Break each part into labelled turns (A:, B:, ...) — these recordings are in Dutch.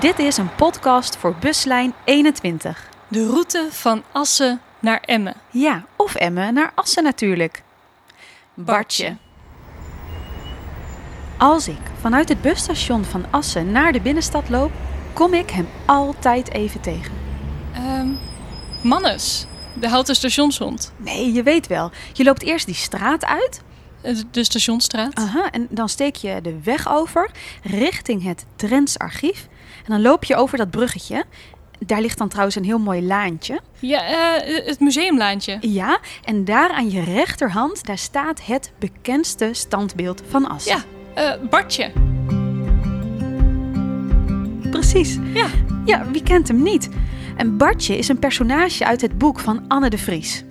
A: Dit is een podcast voor buslijn 21.
B: De route van Assen naar Emmen.
A: Ja, of Emmen naar Assen natuurlijk. Bartje. Als ik vanuit het busstation van Assen naar de binnenstad loop, kom ik hem altijd even tegen.
B: Ehm Mannes, de houten stationshond.
A: Nee, je weet wel. Je loopt eerst die straat uit.
B: Eh, De stationstraat.
A: Aha, en dan steek je de weg over richting het Drents archief. En dan loop je over dat bruggetje. Daar ligt dan trouwens een heel mooi laantje.
B: Ja, eh, het museumlaantje.
A: Ja, en daar aan je rechterhand, daar staat het bekendste standbeeld van Assen.
B: Ja, eh, Bartje.
A: precies.
B: Ja.
A: Ja, wie kent hem niet? En Bartje is een personage uit het boek van Anne de Vries.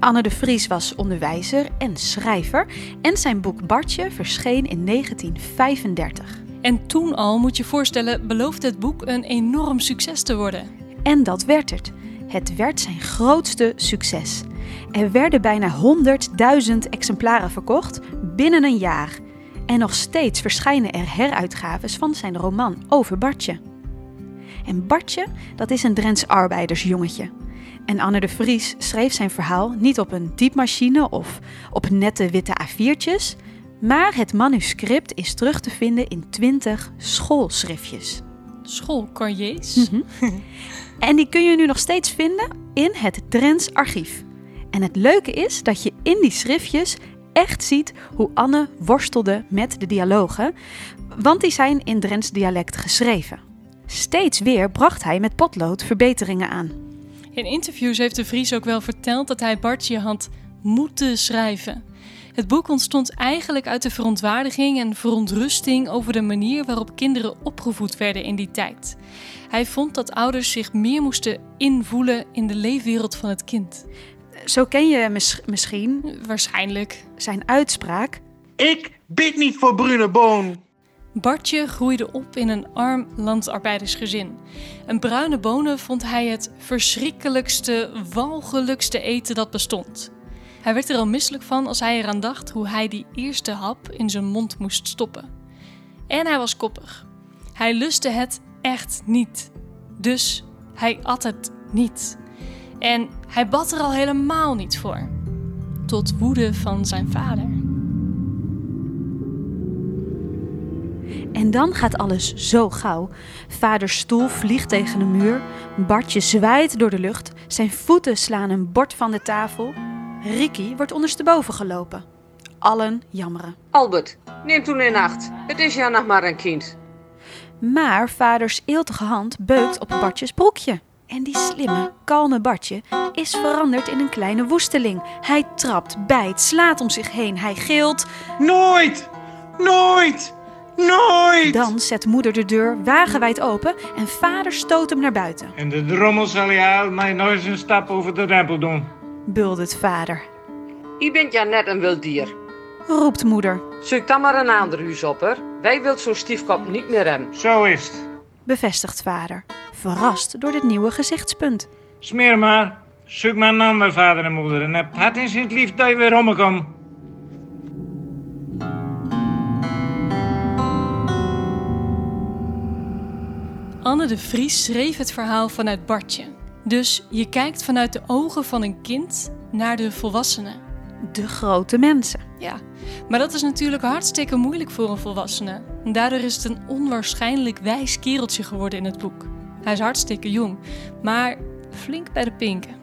A: Anne de Vries was onderwijzer en schrijver en zijn boek Bartje verscheen in 1935.
B: En toen al, moet je voorstellen, beloofde het boek een enorm succes te worden.
A: En dat werd het. Het werd zijn grootste succes. Er werden bijna 100.000 exemplaren verkocht binnen een jaar. En nog steeds verschijnen er heruitgaves van zijn roman over Bartje. En Bartje, dat is een Drents arbeidersjongetje. En Anne de Vries schreef zijn verhaal niet op een diepmachine of op nette witte A4'tjes, maar het manuscript is terug te vinden in 20 schoolschriftjes.
B: Schoolcarriers.
A: En die kun je nu nog steeds vinden in het Drents archief. En het leuke is dat je in die schriftjes echt ziet hoe Anne worstelde met de dialogen, want die zijn in Drents dialect geschreven. Steeds weer bracht hij met potlood verbeteringen aan.
B: In interviews heeft de Vries ook wel verteld dat hij Bartje had moeten schrijven. Het boek ontstond eigenlijk uit de verontwaardiging en verontrusting over de manier waarop kinderen opgevoed werden in die tijd. Hij vond dat ouders zich meer moesten invoelen in de leefwereld van het kind.
A: Zo ken je mis- misschien
B: Waarschijnlijk.
A: zijn uitspraak.
C: Ik bid niet voor Brune Boon.
B: Bartje groeide op in een arm landarbeidersgezin. En bruine bonen vond hij het verschrikkelijkste, walgelijkste eten dat bestond. Hij werd er al misselijk van als hij eraan dacht hoe hij die eerste hap in zijn mond moest stoppen. En hij was koppig. Hij lustte het echt niet. Dus hij at het niet. En hij bad er al helemaal niet voor. Tot woede van zijn vader.
A: En dan gaat alles zo gauw. Vaders stoel vliegt tegen een muur. Bartje zwaait door de lucht. Zijn voeten slaan een bord van de tafel. Ricky wordt ondersteboven gelopen. Allen jammeren.
D: Albert, neem toen in acht. Het is ja nog maar een kind.
A: Maar vaders eeltige hand beukt op Bartjes broekje. En die slimme, kalme Bartje is veranderd in een kleine woesteling. Hij trapt, bijt, slaat om zich heen. Hij gilt.
C: Nooit! Nooit! Nooit!
A: Dan zet moeder de deur wagenwijd open en vader stoot hem naar buiten.
C: En de drommel zal jou mij nooit een stap over de drempel doen.
A: Buldert vader.
D: Je bent ja net een wild dier.
A: Roept moeder.
D: Zoek dan maar een ander huis op, hè. Wij wilt zo'n stiefkop niet meer hebben.
C: Zo is het.
A: bevestigt vader, verrast door dit nieuwe gezichtspunt.
C: Smeer maar. Zoek maar een ander, vader en moeder. En heb het in het lief dat je weer omkomt.
B: Anne de Vries schreef het verhaal vanuit Bartje. Dus je kijkt vanuit de ogen van een kind naar de volwassenen.
A: De grote mensen.
B: Ja, maar dat is natuurlijk hartstikke moeilijk voor een volwassene. En Daardoor is het een onwaarschijnlijk wijs kereltje geworden in het boek. Hij is hartstikke jong, maar flink bij de pinken.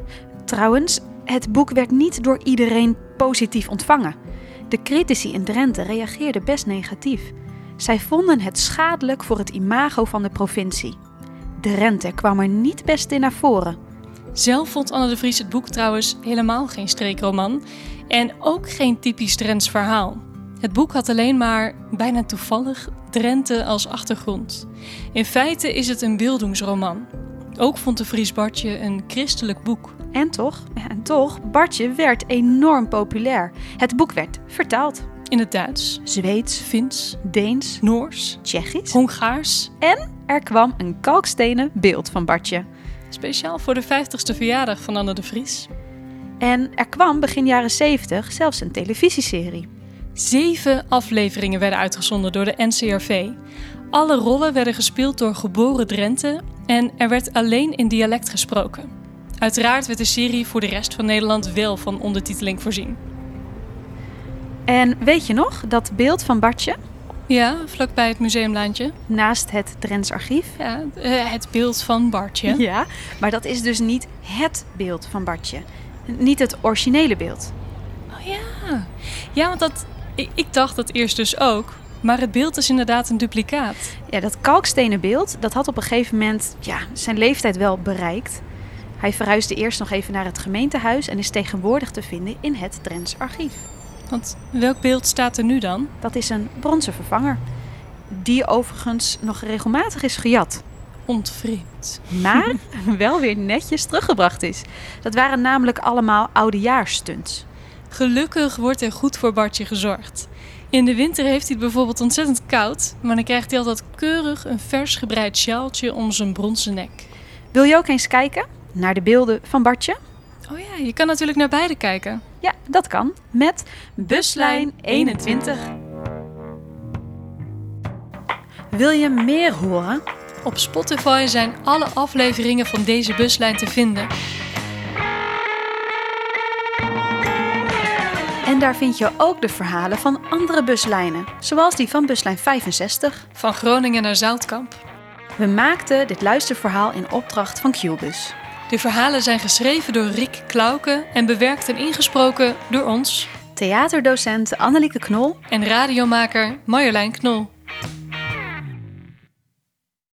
A: Trouwens, het boek werd niet door iedereen positief ontvangen. De critici in Drenthe reageerden best negatief. Zij vonden het schadelijk voor het imago van de provincie. Drenthe kwam er niet best in naar voren.
B: Zelf vond Anne de Vries het boek trouwens helemaal geen streekroman en ook geen typisch Drents verhaal. Het boek had alleen maar, bijna toevallig, Drenthe als achtergrond. In feite is het een beeldingsroman. Ook vond de Vries Bartje een christelijk boek.
A: En toch, en toch, Bartje werd enorm populair. Het boek werd vertaald.
B: In het Duits,
A: Zweeds,
B: Fins,
A: Deens,
B: Noors,
A: Tsjechisch.
B: Hongaars.
A: Er kwam een kalkstenen beeld van Bartje.
B: Speciaal voor de 50ste verjaardag van Anne de Vries.
A: En er kwam begin jaren 70 zelfs een televisieserie.
B: Zeven afleveringen werden uitgezonden door de NCRV. Alle rollen werden gespeeld door geboren Drenthe en er werd alleen in dialect gesproken. Uiteraard werd de serie voor de rest van Nederland wel van ondertiteling voorzien.
A: En weet je nog dat beeld van Bartje
B: Ja, vlakbij het museumlaantje.
A: naast het Drents archief?
B: Ja, eh, het beeld van Bartje.
A: Ja, maar dat is dus niet het beeld van Bartje. Niet het originele beeld.
B: Oh ja. Ja, want dat, ik, ik dacht dat eerst dus ook. Maar het beeld is inderdaad een duplicaat.
A: Ja, dat kalkstenen beeld, dat had op een gegeven moment ja, zijn leeftijd wel bereikt. Hij verhuisde eerst nog even naar het gemeentehuis en is tegenwoordig te vinden in het Drents archief.
B: Want welk beeld staat er nu dan?
A: Dat is een bronzen vervanger, die overigens nog regelmatig is gejat.
B: Ontvreemd.
A: maar wel weer netjes teruggebracht is. Dat waren namelijk allemaal oudejaarstunts.
B: Gelukkig wordt er goed voor Bartje gezorgd. In de winter heeft hij het bijvoorbeeld ontzettend koud, maar dan krijgt hij altijd keurig een vers gebreid sjaaltje om zijn bronzen nek.
A: Wil je ook eens kijken naar de beelden van Bartje?
B: Oh ja, je kan natuurlijk naar beide kijken.
A: Ja, dat kan met buslijn 21. Wil je meer horen?
B: Op Spotify zijn alle afleveringen van deze buslijn te vinden.
A: En daar vind je ook de verhalen van andere buslijnen, zoals die van buslijn 65.
B: Van Groningen naar Zoutkamp.
A: We maakten dit luisterverhaal in opdracht van QBus.
B: De verhalen zijn geschreven door Rick Klauke en bewerkt en ingesproken door ons
A: Theaterdocent Annelieke Knol
B: en radiomaker Marjolein Knol.